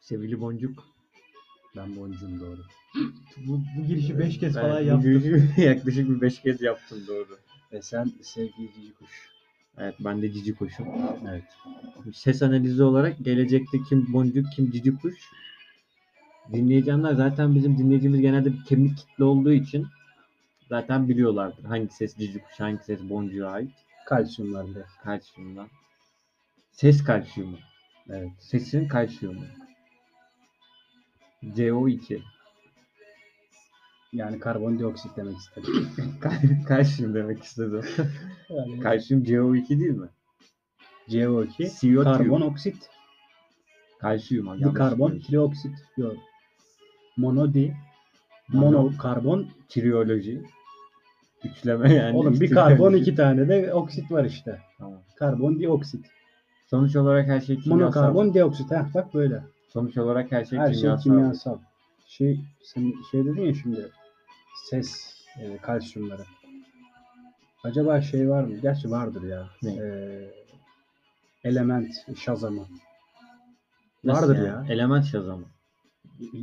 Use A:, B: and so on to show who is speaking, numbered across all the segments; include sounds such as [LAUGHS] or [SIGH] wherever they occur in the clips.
A: Sevgili boncuk.
B: Ben boncuğum doğru.
A: Bu, bu girişi 5 kez
B: Ben
A: falan
B: bu
A: yaptım.
B: girişi yaklaşık [LAUGHS] bir 5 kez yaptım.
A: yaptım doğru.
B: Ve sen sevgili cici kuş.
A: Evet ben de cici kuşum.
B: Evet.
A: Ses analizi olarak gelecekte kim boncuk kim cici kuş. Dinleyeceğimler zaten bizim dinleyicimiz genelde bir kemik kitle olduğu için zaten biliyorlardır hangi ses cici kuş hangi ses boncuğa ait.
B: Kalsiyumlar biraz.
A: Kalsiyumdan. Ses kalsiyumu.
B: Evet.
A: Sesin kalsiyumu. CO2.
B: Yani karbondioksit demek istedim.
A: Kal- [LAUGHS] kalsiyum demek istedim.
B: Yani
A: kalsiyum CO2 değil mi?
B: CO2,
A: CO2.
B: karbon oksit,
A: Kalsiyum. ha, yanlış
B: dikarbon,
A: biliyorum.
B: trioksit. Yok. Monodi,
A: Mono-
B: monokarbon.
A: Triyoloji. Üçleme yani.
B: Oğlum
A: [LAUGHS]
B: bir
A: İkili-
B: karbon iki tane de oksit var işte.
A: Tamam.
B: Karbon dioksit.
A: Sonuç olarak her şey kimyasal.
B: Monokarbon dioksit. Ha bak böyle.
A: Sonuç olarak her şey
B: Her şey
A: kimyasal.
B: kimyasal. Şey sen şey dedin ya şimdi ses e, kalsiyumları. Acaba şey var mı? Gerçi vardır ya.
A: Ne?
B: E, element şazamı.
A: Nasıl
B: Vardır
A: yani? Element şazamı.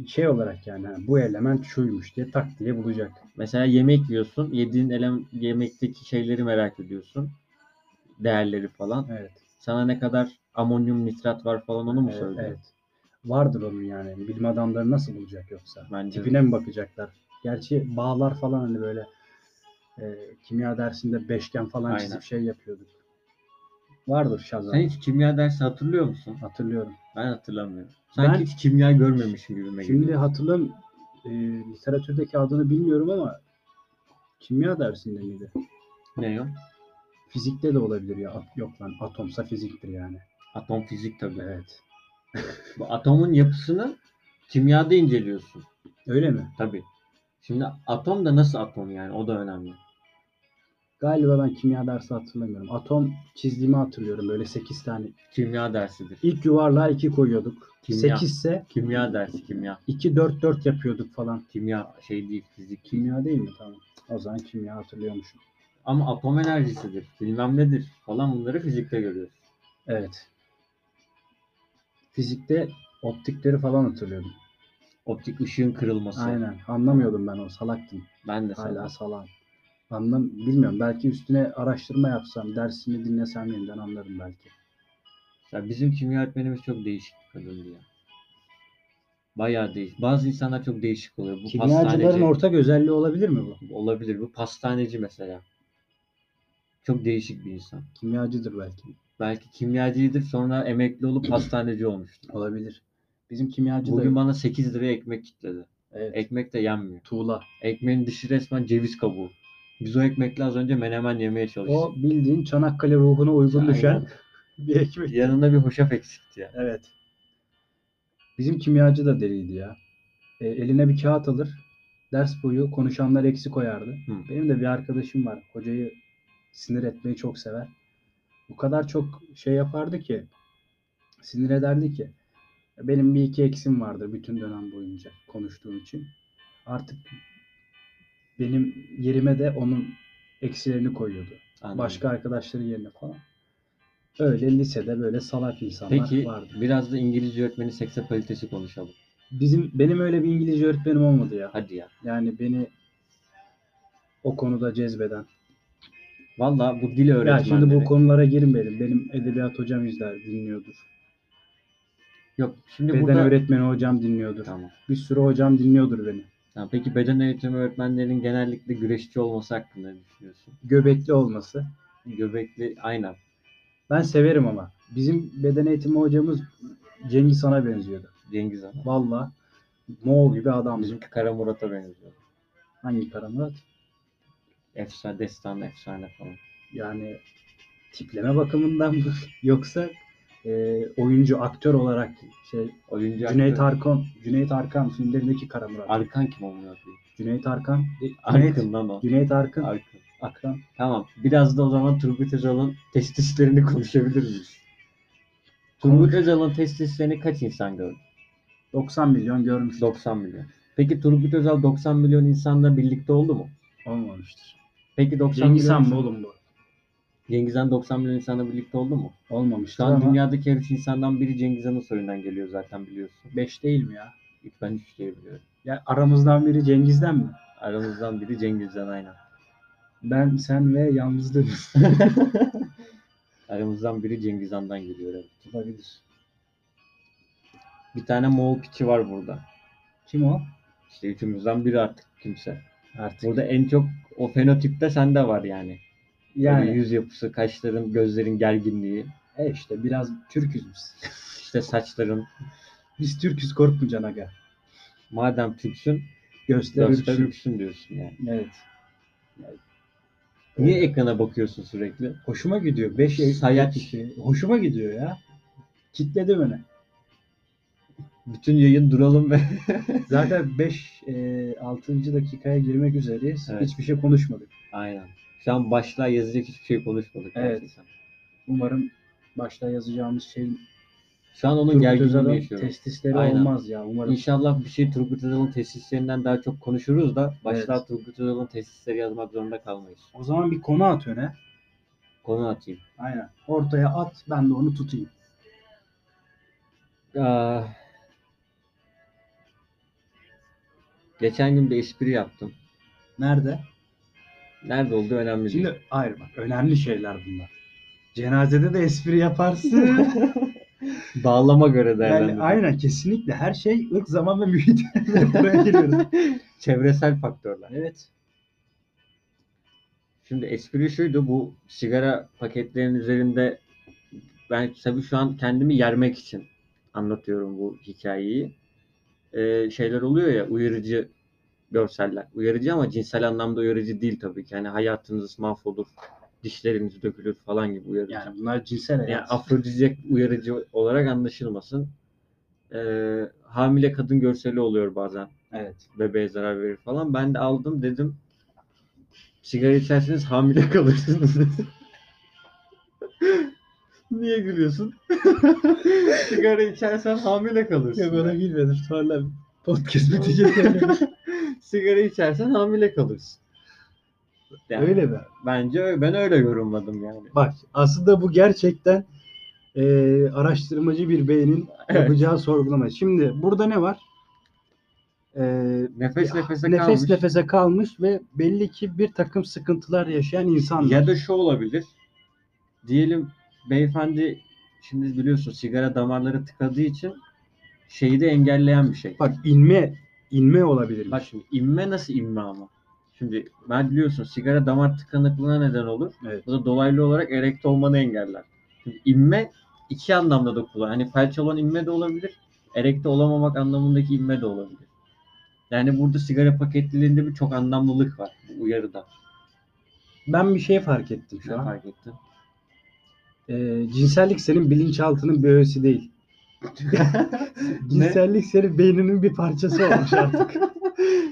B: Şey olarak yani ha, bu element şuymuş diye tak diye bulacak.
A: Mesela yemek yiyorsun. Yediğin elem, yemekteki şeyleri merak ediyorsun. Değerleri falan.
B: Evet.
A: Sana ne kadar amonyum nitrat var falan onu mu
B: e,
A: söylüyor?
B: evet. Vardır onun yani. Bilim adamları nasıl bulacak yoksa?
A: Bence
B: Tipine mi bakacaklar? Gerçi bağlar falan hani böyle e, kimya dersinde beşgen falan
A: Aynen.
B: çizip şey yapıyorduk. Vardır şazam.
A: Sen hiç kimya dersi hatırlıyor musun?
B: Hatırlıyorum.
A: Ben hatırlamıyorum. Sanki
B: Ben-
A: hiç kimya görmemişim gibi.
B: Şimdi hatırlam e, literatürdeki adını bilmiyorum ama kimya dersinde miydi?
A: ne yok?
B: Fizikte de olabilir ya. At- yok lan atomsa fiziktir yani.
A: Atom fizik tabii.
B: Evet.
A: Bu atomun yapısını kimyada inceliyorsun.
B: Öyle mi?
A: Tabii. Şimdi atom da nasıl atom yani o da önemli.
B: Galiba ben kimya dersi hatırlamıyorum. Atom çizdiğimi hatırlıyorum. Böyle 8 tane.
A: Kimya dersidir.
B: İlk yuvarlığa 2 koyuyorduk.
A: Kimya.
B: 8 ise
A: Kimya dersi kimya.
B: 2 4 4 yapıyorduk falan.
A: Kimya şey değil fizik.
B: Kimya değil mi? Tamam. O zaman kimya hatırlıyormuşum.
A: Ama atom enerjisidir bilmem nedir falan bunları fizikte görüyoruz.
B: Evet. Fizikte optikleri falan hatırlıyordum.
A: Optik ışığın kırılması.
B: Aynen. Anlamıyordum ben o salaktım.
A: Ben de sana.
B: Hala salam. Anlam bilmiyorum. Belki üstüne araştırma yapsam, dersini dinlesem yeniden anlarım belki.
A: Ya bizim kimya öğretmenimiz çok değişik bir kadındı ya. Bayağı değişik. Bazı insanlar çok değişik oluyor. Bu
B: Kimyacıların
A: pastaneci
B: ortak özelliği olabilir mi bu?
A: olabilir. Bu pastaneci mesela. Çok değişik bir insan.
B: Kimyacıdır belki.
A: Belki kimyacıydır sonra emekli olup pastaneci olmuştur.
B: Olabilir. Bizim kimyacı
A: Bugün
B: da
A: bana 8 liraya ekmek kitledi.
B: evet,
A: Ekmek de yenmiyor.
B: tuğla.
A: Ekmeğin dışı resmen ceviz kabuğu. Biz o ekmekle az önce menemen yemeye
B: O
A: çalıştık.
B: bildiğin Çanakkale ruhuna uygun
A: Aynen.
B: düşen [LAUGHS] bir ekmek.
A: Yanında bir hoşaf eksikti ya.
B: Evet. Bizim kimyacı da deliydi ya. E, eline bir kağıt alır. Ders boyu konuşanlar eksi koyardı.
A: Hı.
B: Benim de bir arkadaşım var. Hocayı sinir etmeyi çok sever. O kadar çok şey yapardı ki sinir ederdi ki benim bir iki eksim vardır bütün dönem boyunca konuştuğum için. Artık benim yerime de onun eksilerini koyuyordu.
A: Anladım.
B: Başka arkadaşların yerine falan. Öyle lisede böyle salak insanlar
A: Peki
B: vardı.
A: biraz da İngilizce öğretmeni seksapalitesi konuşalım.
B: Bizim benim öyle bir İngilizce öğretmenim olmadı ya.
A: Hadi ya.
B: Yani beni o konuda cezbeden.
A: Valla bu dil
B: Ya
A: öğretmenleri.
B: şimdi bu konulara girmeyelim. Benim edebiyat hocam izler dinliyordur.
A: Yok şimdi
B: Beden
A: burada...
B: öğretmeni hocam dinliyordur.
A: Tamam.
B: Bir sürü hocam dinliyordur beni.
A: Tamam, Peki beden eğitimi öğretmenlerinin genellikle güreşçi olması hakkında ne düşünüyorsun?
B: Göbekli olması.
A: Göbekli aynen.
B: Ben severim ama. Bizim beden eğitimi hocamız Cengiz Han'a benziyordu.
A: Cengiz Han.
B: Valla Moğol gibi adam.
A: Bizimki Kara Murat'a benziyor.
B: Hangi Kara Murat?
A: Efsane, destan, efsane falan.
B: Yani tipleme bakımından mı? [LAUGHS] Yoksa e, oyuncu, aktör olarak şey
A: Oyuncu
B: Cüneyt
A: aktör-
B: Arkon, Cüneyt Arkan filmlerindeki Kara Murat.
A: Arkan kim amına koyayım?
B: Cüneyt Arkan. Cüneyt,
A: Arkın lan o.
B: Cüneyt Arkın.
A: Arkın.
B: Akran.
A: Tamam. Biraz da o zaman Turgut Özal'ın testislerini konuşabilir miyiz? Turgut
B: Turgut
A: Özal'ın testislerini kaç insan gördü?
B: 90 milyon görmüş.
A: 90 milyon. Peki Turgut Özal 90 milyon insanla birlikte oldu mu?
B: Olmamıştır.
A: Peki 90
B: Cengiz
A: milyon
B: Han mı
A: insan-
B: oğlum bu?
A: Cengiz Han 90 milyon insanla birlikte oldu mu?
B: Olmamıştı
A: Şu an
B: ama
A: dünyadaki her üç insandan biri Cengiz Han'ın soyundan geliyor zaten biliyorsun.
B: 5 değil mi ya?
A: Üç ben üç diye biliyorum.
B: Ya aramızdan biri Cengiz'den mi?
A: Aramızdan biri Cengiz Han aynen.
B: Ben, sen ve yalnızlığımız.
A: [LAUGHS] Aramızdan biri Cengiz Han'dan geliyor evet.
B: Olabilir.
A: Bir tane Moğol piçi var burada.
B: Kim o?
A: İşte üçümüzden biri artık kimse.
B: Artık.
A: Burada en çok o fenotipte sende var yani. Yani
B: yani
A: yüz yapısı, kaşların, gözlerin gerginliği,
B: e işte biraz Türküz biz. [LAUGHS]
A: işte saçların.
B: Biz Türküz korkmayacaksın aga.
A: Madem Türksün,
B: Göster
A: göster
B: ürküsün.
A: ürksün diyorsun yani.
B: Evet.
A: Niye ekrana bakıyorsun sürekli?
B: Hoşuma gidiyor. 5
A: Sayaç.
B: Hoşuma gidiyor ya. Kitledi beni.
A: Bütün yayın duralım ve [LAUGHS]
B: Zaten 5 6. dakikaya girmek üzereyiz.
A: Evet.
B: Hiçbir şey konuşmadık.
A: Aynen. Şu an başlığa yazacak hiçbir şey konuşmadık.
B: Evet.
A: gerçekten.
B: Umarım başta yazacağımız şeyin
A: Şu an onun
B: Turgut
A: gerginliğini
B: Özal'ın
A: yaşıyoruz.
B: testisleri
A: Aynen.
B: olmaz ya umarım.
A: İnşallah bir şey Turgut Özal'ın tesislerinden daha çok konuşuruz da başlığa
B: Evet.
A: Turgut Özal'ın tesisleri yazmak zorunda kalmayız.
B: O zaman bir konu at öne.
A: Konu atayım.
B: Aynen. Ortaya at ben de onu tutayım.
A: Aa, geçen gün bir espri yaptım.
B: Nerede?
A: Nerede oldu önemli değil.
B: Şimdi hayır bak önemli şeyler bunlar. Cenazede de espri [LAUGHS] yaparsın.
A: [LAUGHS] Bağlama göre değerlendirdim.
B: yani aynen kesinlikle her şey ırk zaman ve mühit. [LAUGHS] Buraya giriyoruz.
A: Çevresel faktörler.
B: Evet.
A: Şimdi espri şuydu bu sigara paketlerinin üzerinde ben tabii şu an kendimi yermek için anlatıyorum bu hikayeyi. Ee, şeyler oluyor ya uyarıcı görseller. Uyarıcı ama cinsel anlamda uyarıcı değil tabii ki. Yani hayatınız mahvolur, dişleriniz dökülür falan gibi uyarıcı.
B: Yani bunlar cinsel hayat.
A: Yani afrodizyak uyarıcı olarak anlaşılmasın. Ee, hamile kadın görseli oluyor bazen.
B: evet.
A: Bebeğe zarar verir falan. Ben de aldım dedim. Sigara içerseniz hamile kalırsınız. [LAUGHS] Niye gülüyorsun? [LAUGHS] Sigara içersen hamile kalırsın.
B: Yok ona gülmedim. Sonra podcast [LAUGHS] bitecek.
A: Sigara içersen hamile kalırsın. Yani
B: Öyle mi?
A: Bence öyle- ben öyle yorumladım yani.
B: Bak aslında bu gerçekten e, araştırmacı bir beynin
A: Evet.
B: yapacağı sorgulama. Şimdi burada ne var? E,
A: Nefes nefese
B: nefes
A: kalmış.
B: nefese kalmış ve belli ki bir takım sıkıntılar yaşayan insanlar.
A: Ya da şu olabilir. Diyelim beyefendi şimdi biliyorsun sigara damarları tıkadığı için şeyi de engelleyen bir şey.
B: Bak inme inme olabilir.
A: Bak şimdi inme nasıl inme ama? Şimdi ben biliyorsun sigara damar tıkanıklığına neden olur.
B: Evet.
A: Bu da dolaylı olarak erekt olmanı engeller. Şimdi inme iki anlamda da kullan. Hani felç olan inme de olabilir. Erekte olamamak anlamındaki inme de olabilir. Yani burada sigara paketliliğinde bir çok anlamlılık var bu uyarıda.
B: Ben bir şey fark ettim
A: Ne
B: şu an.
A: fark ettin?
B: E, cinsellik senin bilinçaltının bir öğesi değil. Cinsellik senin beyninin bir parçası
A: [LAUGHS]
B: olmuş artık.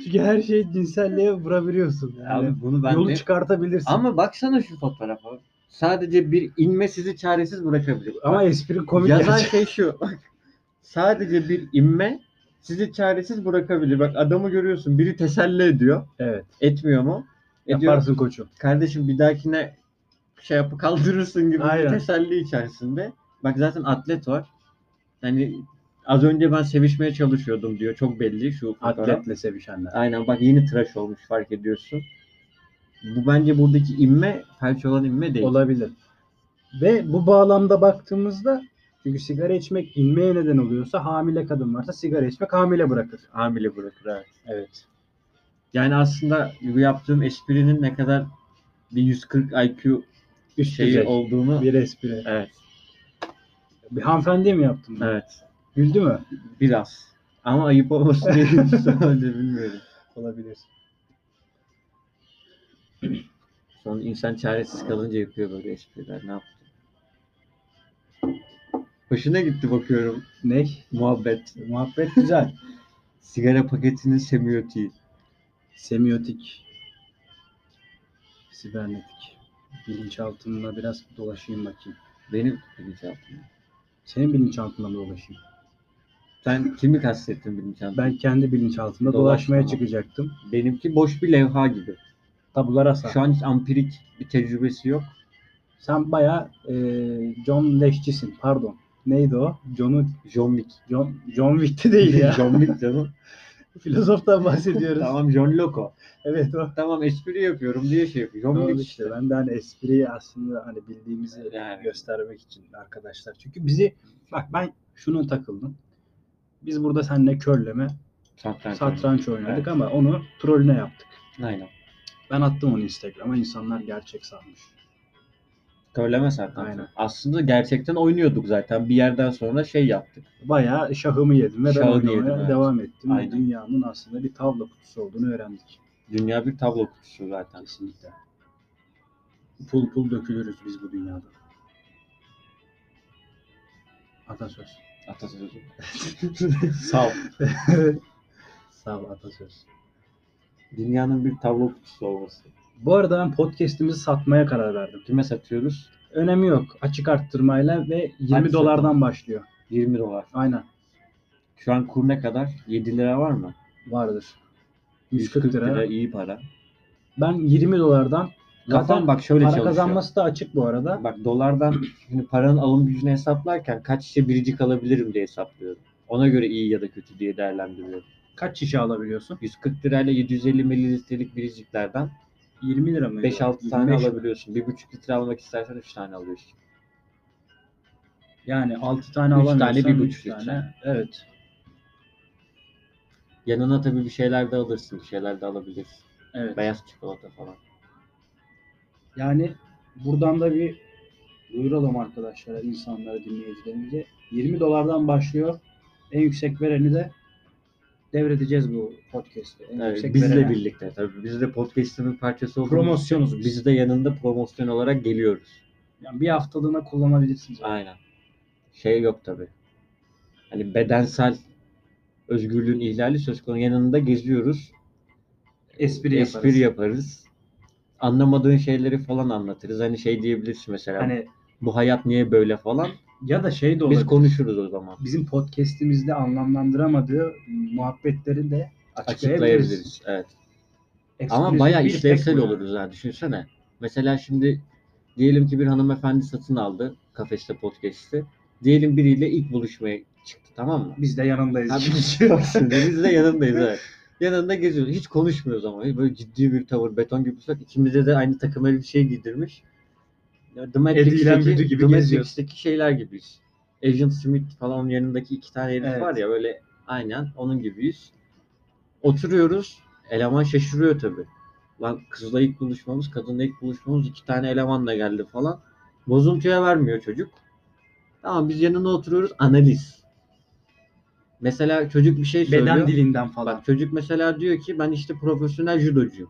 B: Çünkü her şeyi cinselliğe vurabiliyorsun. Yani
A: [LAUGHS] Abi bunu ben
B: yolu
A: de-
B: çıkartabilirsin.
A: Ama baksana şu fotoğrafa. Sadece bir inme sizi çaresiz bırakabilir.
B: Ama espri komik
A: Yazan
B: gerçekten.
A: şey şu. Bak, sadece bir inme sizi çaresiz bırakabilir. Bak adamı görüyorsun. Biri teselli ediyor.
B: Evet.
A: Etmiyor mu? Ediyor.
B: Yaparsın koçum.
A: Kardeşim bir dahakine şey yapı kaldırırsın gibi
B: Aynen.
A: bir teselli içerisinde. Bak zaten atlet var. Yani az önce ben sevişmeye çalışıyordum diyor. Çok belli şu fotoğraf.
B: Atletle sevişenler.
A: Aynen bak yeni tıraş olmuş fark ediyorsun. Bu bence buradaki inme felç olan inme değil.
B: Olabilir. Ve bu bağlamda baktığımızda çünkü sigara içmek inmeye neden oluyorsa hamile kadın varsa sigara içmek hamile bırakır.
A: Hamile bırakır evet.
B: Evet.
A: Yani aslında bu yaptığım esprinin ne kadar bir 140 IQ
B: Üst
A: şeyi
B: düzey.
A: olduğunu
B: Bir espri.
A: evet
B: Bir hanımefendiye mi yaptın? bunu?
A: evet
B: Güldü mü?
A: biraz ama ayıp olmasın diye [LAUGHS] söyle bilmiyorum.
B: Olabilir.
A: Sonra insan çaresiz kalınca yapıyor böyle espriler ne yaptı? Hoşuna gitti bakıyorum
B: Ne?
A: muhabbet.
B: Muhabbet güzel. [LAUGHS]
A: Sigara paketinin semiotiği.
B: Semiotik. Sibernetik. Bilinçaltımla biraz dolaşayım bakayım.
A: Benim bilinçaltım.
B: Senin bilinçaltına dolaşayım.
A: Sen kimi kastettin bilinçaltı?
B: Ben kendi bilinçaltımda
A: Dolaş,
B: dolaşmaya
A: tamam.
B: çıkacaktım.
A: Benimki boş bir levha gibi.
B: Tabular asa.
A: Şu an hiç ampirik bir tecrübesi yok.
B: Sen bayağı e, John Leşçisin. Pardon. Neydi o? John'u
A: John Wick.
B: John, John Wick'ti değil
A: [LAUGHS]
B: ya.
A: John Wick canım.
B: Filozoftan
A: [LAUGHS]
B: bahsediyoruz.
A: tamam John Loco.
B: Evet o.
A: Tamam espri yapıyorum diye şey yapıyor. John
B: Tamam
A: Wick
B: işte ben de hani espriyi aslında hani bildiğimizi
A: Yani.
B: göstermek için arkadaşlar. Çünkü bizi bak ben şunu takıldım. Biz burada seninle körleme
A: Satranç.
B: satranç oynadık
A: Evet.
B: ama onu trollüne yaptık.
A: Aynen.
B: Ben attım onu Instagram'a insanlar gerçek sanmış.
A: Körleme satranç.
B: Aynen.
A: Aslında gerçekten oynuyorduk zaten. Bir yerden sonra şey yaptık.
B: Bayağı şahımı yedim ve ben
A: Şahını
B: oynamaya
A: yedim, evet.
B: devam ettim.
A: Aynen.
B: Dünyanın aslında bir tavla kutusu olduğunu öğrendik.
A: Dünya bir tablo kutusu zaten.
B: Kesinlikle. Pul pul dökülürüz biz bu dünyada. Atasöz.
A: Atasözü. Sağ ol.
B: [LAUGHS] Sağ ol atasöz.
A: Dünyanın bir tablo kutusu olması.
B: Bu arada ben podcast'imizi satmaya karar verdim.
A: Kime satıyoruz?
B: Önemi yok. Açık arttırmayla ve 20
A: Açık.
B: dolardan başlıyor.
A: 20 dolar.
B: Aynen.
A: Şu an kur ne kadar? 7 lira var mı?
B: Vardır. 140, lira.
A: iyi para.
B: Ben 20 dolardan
A: Kafam
B: zaten
A: bak şöyle
B: para
A: çalışıyor.
B: kazanması da açık bu arada.
A: Bak dolardan [CLEARS THROAT] şimdi paranın alım gücünü hesaplarken kaç şişe biricik alabilirim diye hesaplıyorum. Ona göre iyi ya da kötü diye değerlendiriyorum.
B: Kaç şişe alabiliyorsun?
A: 140 lirayla 750 mililitrelik biriciklerden
B: 20 lira mı?
A: 5-6 tane
B: 25 mi?
A: alabiliyorsun. 1,5 litre almak istersen 3 tane alıyorsun.
B: Yani 6 tane
A: Üç
B: alamıyorsan
A: tane, bir
B: üç
A: buçuk litre.
B: tane. Evet.
A: Yanına tabii bir şeyler de alırsın. Bir şeyler de alabilirsin.
B: Evet.
A: Beyaz çikolata falan.
B: Yani buradan da bir duyuralım arkadaşlara, insanlara, dinleyicilerimize. 20 dolardan başlıyor. En yüksek vereni de devredeceğiz bu podcast'te. En
A: Evet,
B: yüksek
A: bizle
B: verene.
A: birlikte tabii. Biz de podcast'ın bir parçası olduğumuz
B: Promosyonuz biz.
A: Biz de yanında promosyon olarak geliyoruz.
B: Yani bir haftalığına kullanabilirsiniz.
A: Aynen. Şey yok tabii. Hani bedensel özgürlüğün ihlali söz konusu. Yanında geziyoruz.
B: Espri yaparız.
A: Espri yaparız. Anlamadığın şeyleri falan anlatırız. Hani şey diyebilirsin mesela.
B: Hani
A: bu hayat niye böyle falan.
B: ya da şey de olabilir.
A: Biz konuşuruz o zaman.
B: Bizim podcast'imizde anlamlandıramadığı muhabbetleri de açıklayabiliriz.
A: Açıklayabiliriz. Evet. Ama
B: Exclusive
A: bayağı
B: bir tek
A: işlevsel
B: bu yani.
A: oluruz ha düşünsene. Mesela şimdi diyelim ki bir hanımefendi satın aldı kafeste podcast'i. Diyelim biriyle ilk buluşmaya çıktı tamam mı?
B: Biz de yanındayız.
A: Abi bir şey yok
B: [LAUGHS]
A: şimdi. Biz de yanındayız evet. Yanında geziyoruz. Hiç konuşmuyoruz ama. Böyle ciddi bir tavır. Beton gibi bir şey İkimize de aynı takım elbise şey giydirmiş. Ya The
B: Edilen büdü
A: Matrix'teki,
B: gibi
A: The
B: geziyoruz.
A: Matrix'teki şeyler gibiyiz. Agent Smith falan onun yanındaki iki tane herif
B: Evet.
A: var ya böyle aynen onun gibiyiz. Oturuyoruz. Eleman şaşırıyor tabii. Lan kızla ilk buluşmamız, kadınla ilk buluşmamız iki tane elemanla geldi falan. Bozuntuya vermiyor çocuk. Tamam biz yanına oturuyoruz analiz. Mesela çocuk bir şey söylüyor.
B: Beden dilinden falan.
A: Bak çocuk mesela diyor ki ben işte profesyonel judocuyum.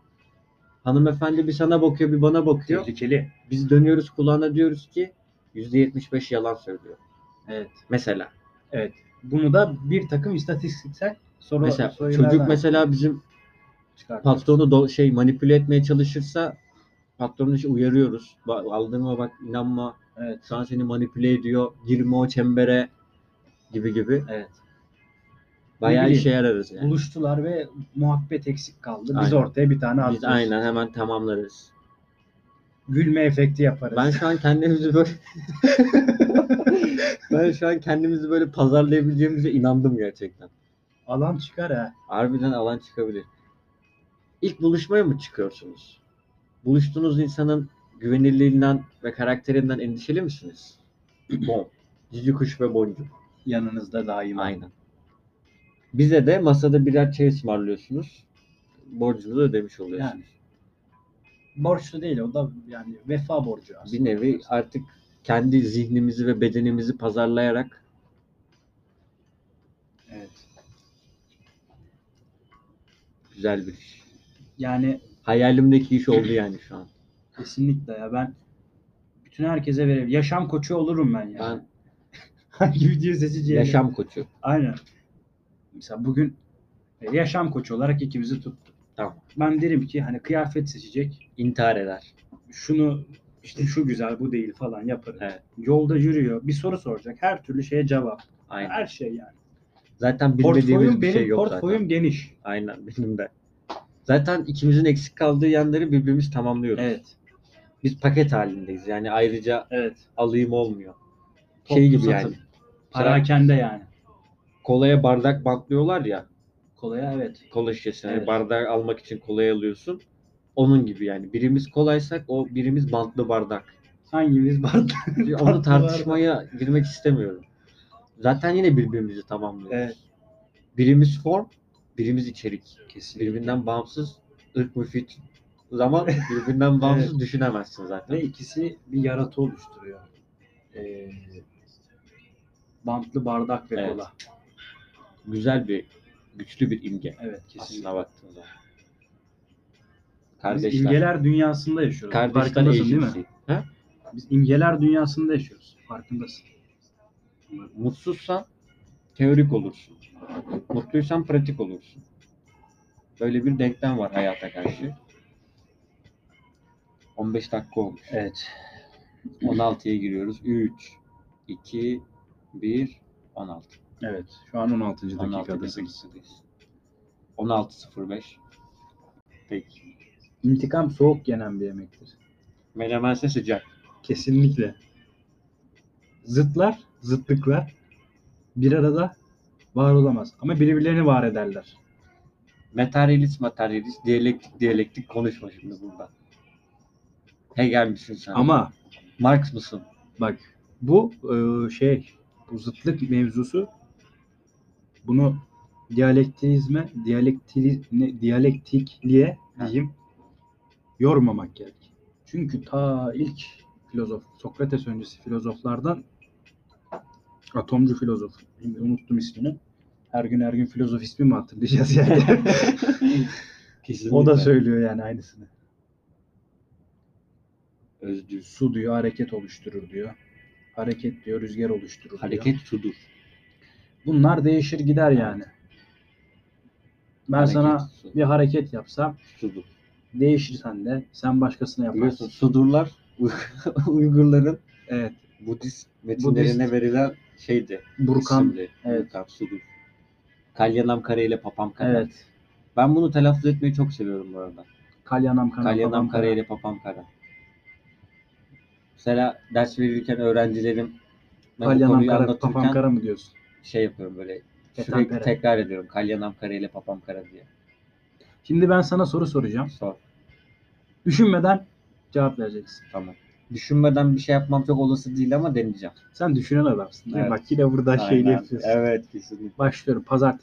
A: Hanımefendi bir sana bakıyor bir bana bakıyor.
B: Tehlikeli.
A: Biz dönüyoruz kulağına diyoruz ki %75 yalan söylüyor.
B: Evet.
A: Mesela.
B: Bunu da bir takım istatistiksel soru
A: mesela
B: sorulardan
A: çocuk mesela bizim
B: çıkartıyor.
A: patronu do- şey manipüle etmeye çalışırsa patronu işte uyarıyoruz. Ba- aldırma bak inanma.
B: Evet.
A: Şu an seni manipüle ediyor. Girme o çembere gibi gibi.
B: Evet.
A: Bayağı
B: bileyim.
A: işe yararız yani.
B: Buluştular ve muhabbet eksik kaldı. Biz
A: Aynen.
B: ortaya bir tane
A: Biz
B: atıyoruz.
A: aynen hemen tamamlarız.
B: Gülme efekti yaparız.
A: Ben şu an kendimizi böyle [LAUGHS] ben şu an kendimizi böyle pazarlayabileceğimize inandım gerçekten.
B: [LAUGHS] Alan çıkar ha.
A: Harbiden alan çıkabilir. İlk buluşmaya mı çıkıyorsunuz? Buluştuğunuz insanın güvenilirliğinden ve karakterinden endişeli
B: [CLEARS THROAT]
A: misiniz? Bon. Cici kuş ve boncuk.
B: Yanınızda daima. [CLEARS THROAT]
A: Aynen. Bize de masada birer çay ısmarlıyorsunuz. Borcunuzu ödemiş oluyorsunuz.
B: Yani. Borçlu değil o da yani vefa borcu aslında.
A: bir nevi artık kendi zihnimizi ve bedenimizi pazarlayarak
B: Evet.
A: güzel bir iş.
B: Yani
A: Hayalimdeki iş
B: [CLEARS THROAT]
A: oldu yani şu an.
B: kesinlikle ya ben bütün herkese verebilirim. Yaşam koçu olurum ben yani.
A: Ben
B: [LAUGHS] Hangi video seçeceğim?
A: yaşam koçu.
B: Aynen. Mesela bugün e, yaşam koçu olarak ikimizi tuttuk.
A: Tamam.
B: Ben derim ki hani kıyafet seçecek.
A: İntihar eder.
B: Şunu işte şu güzel bu değil falan yaparım.
A: Evet.
B: Yolda yürüyor. Bir soru soracak. Her türlü şeye cevap.
A: Aynen.
B: Her şey yani.
A: Zaten
B: Portföyüm
A: bilmediğimiz bir
B: benim
A: şey yok
B: portföyüm
A: zaten.
B: geniş.
A: [LAUGHS] Aynen benim de. Zaten ikimizin eksik kaldığı yanları birbirimiz tamamlıyoruz.
B: Evet.
A: Biz paket halindeyiz. Yani ayrıca
B: Evet.
A: alayım olmuyor.
B: Toplu
A: şey gibi
B: satın.
A: yani. Mesela
B: Parakende yani.
A: kolaya bardak bantlıyorlar ya.
B: Kolaya evet.
A: kola şişesi. Yani
B: Evet.
A: bardağı almak için kolayı alıyorsun. Onun gibi yani. Birimiz kolaysak o birimiz bantlı
B: [LAUGHS]
A: bardak.
B: Hangimiz bardak?
A: Onu tartışmaya girmek istemiyorum. Zaten yine birbirimizi tamamlıyoruz.
B: Evet.
A: Birimiz form, birimiz içerik.
B: Kesinlikle.
A: Birbirinden bağımsız ırk müfit zaman birbirinden bağımsız düşünemezsin zaten.
B: Ve ikisi bir yaratı oluşturuyor. Ee, bantlı bardak ve
A: Evet.
B: kola.
A: Güzel bir, güçlü bir imge
B: Evet kesinlikle.
A: aslına baktığın zaman.
B: Biz
A: Kardeşler.
B: imgeler dünyasında yaşıyoruz.
A: Kardeşler
B: Farkındasın değil mi?
A: eğilimsi. Ha?
B: Biz imgeler dünyasında yaşıyoruz. Farkındasın.
A: Mutsuzsan teorik olursun. Mutluysan pratik olursun. Böyle bir denklem var hayata karşı. 15 dakika olmuş.
B: Evet.
A: 16'ya giriyoruz. 3, 2, 1, 16.
B: Evet. Şu an 16.
A: 16
B: dakikadasınız.
A: 16.05. Peki.
B: İntikam soğuk yenen bir yemektir.
A: Menemense sıcak.
B: Kesinlikle. Zıtlar, zıtlıklar bir arada var olamaz. Ama birbirlerini var ederler.
A: Materyalist materyalist, diyalektik diyalektik konuşma şimdi burada. Hegel misin sen?
B: Ama
A: Marx
B: [LAUGHS]
A: mısın?
B: bak bu e, şey, bu zıtlık mevzusu bunu diyalektizme, diyalektili, ne, diyalektikliğe
A: Ha.
B: diyeyim yormamak gerek. Çünkü ta ilk filozof, Sokrates öncesi filozoflardan atomcu filozof, şimdi unuttum ismini. Her gün her gün filozof ismi mi hatırlayacağız
A: [LAUGHS]
B: yani?
A: Kesinlikle.
B: o da söylüyor yani aynısını.
A: Özgür.
B: Su diyor hareket oluşturur diyor. Hareket diyor rüzgar oluşturur diyor.
A: Hareket sudur.
B: Bunlar değişir gider yani. Ben
A: Hareket
B: sana
A: su-
B: bir hareket yapsam
A: sudur.
B: değişir sende. Sen başkasına yaparsın.
A: Biliyorsun sudurlar [LAUGHS] Uygurların
B: Evet.
A: Budist metinlerine
B: Budist.
A: verilen şeydi.
B: Burkan.
A: isimdi.
B: Evet.
A: Burkan sudur. Kalyanam kare ile papam kare.
B: Evet.
A: Ben bunu telaffuz etmeyi çok seviyorum bu arada.
B: Kalyanam kana. babam
A: Kalyanam
B: kana.
A: kare ile papam kare. Mesela ders verirken öğrencilerim ben bu
B: Kalyanam
A: konuyu
B: kara.
A: anlatırken
B: Papam kara mı diyorsun?
A: şey yapıyorum böyle
B: Petan
A: sürekli
B: kare.
A: tekrar ediyorum. Kalyanam kare ile papam kare diye.
B: Şimdi ben sana soru soracağım.
A: Sor.
B: Düşünmeden cevap vereceksin.
A: Tamam. Düşünmeden bir şey yapmam çok olası değil ama deneyeceğim.
B: Sen düşünen adamsın. değil mi?
A: Evet.
B: Bak yine burada şeyle
A: Aynen.
B: yapıyorsun.
A: Evet kesinlikle.
B: Başlıyorum. Pazartesi.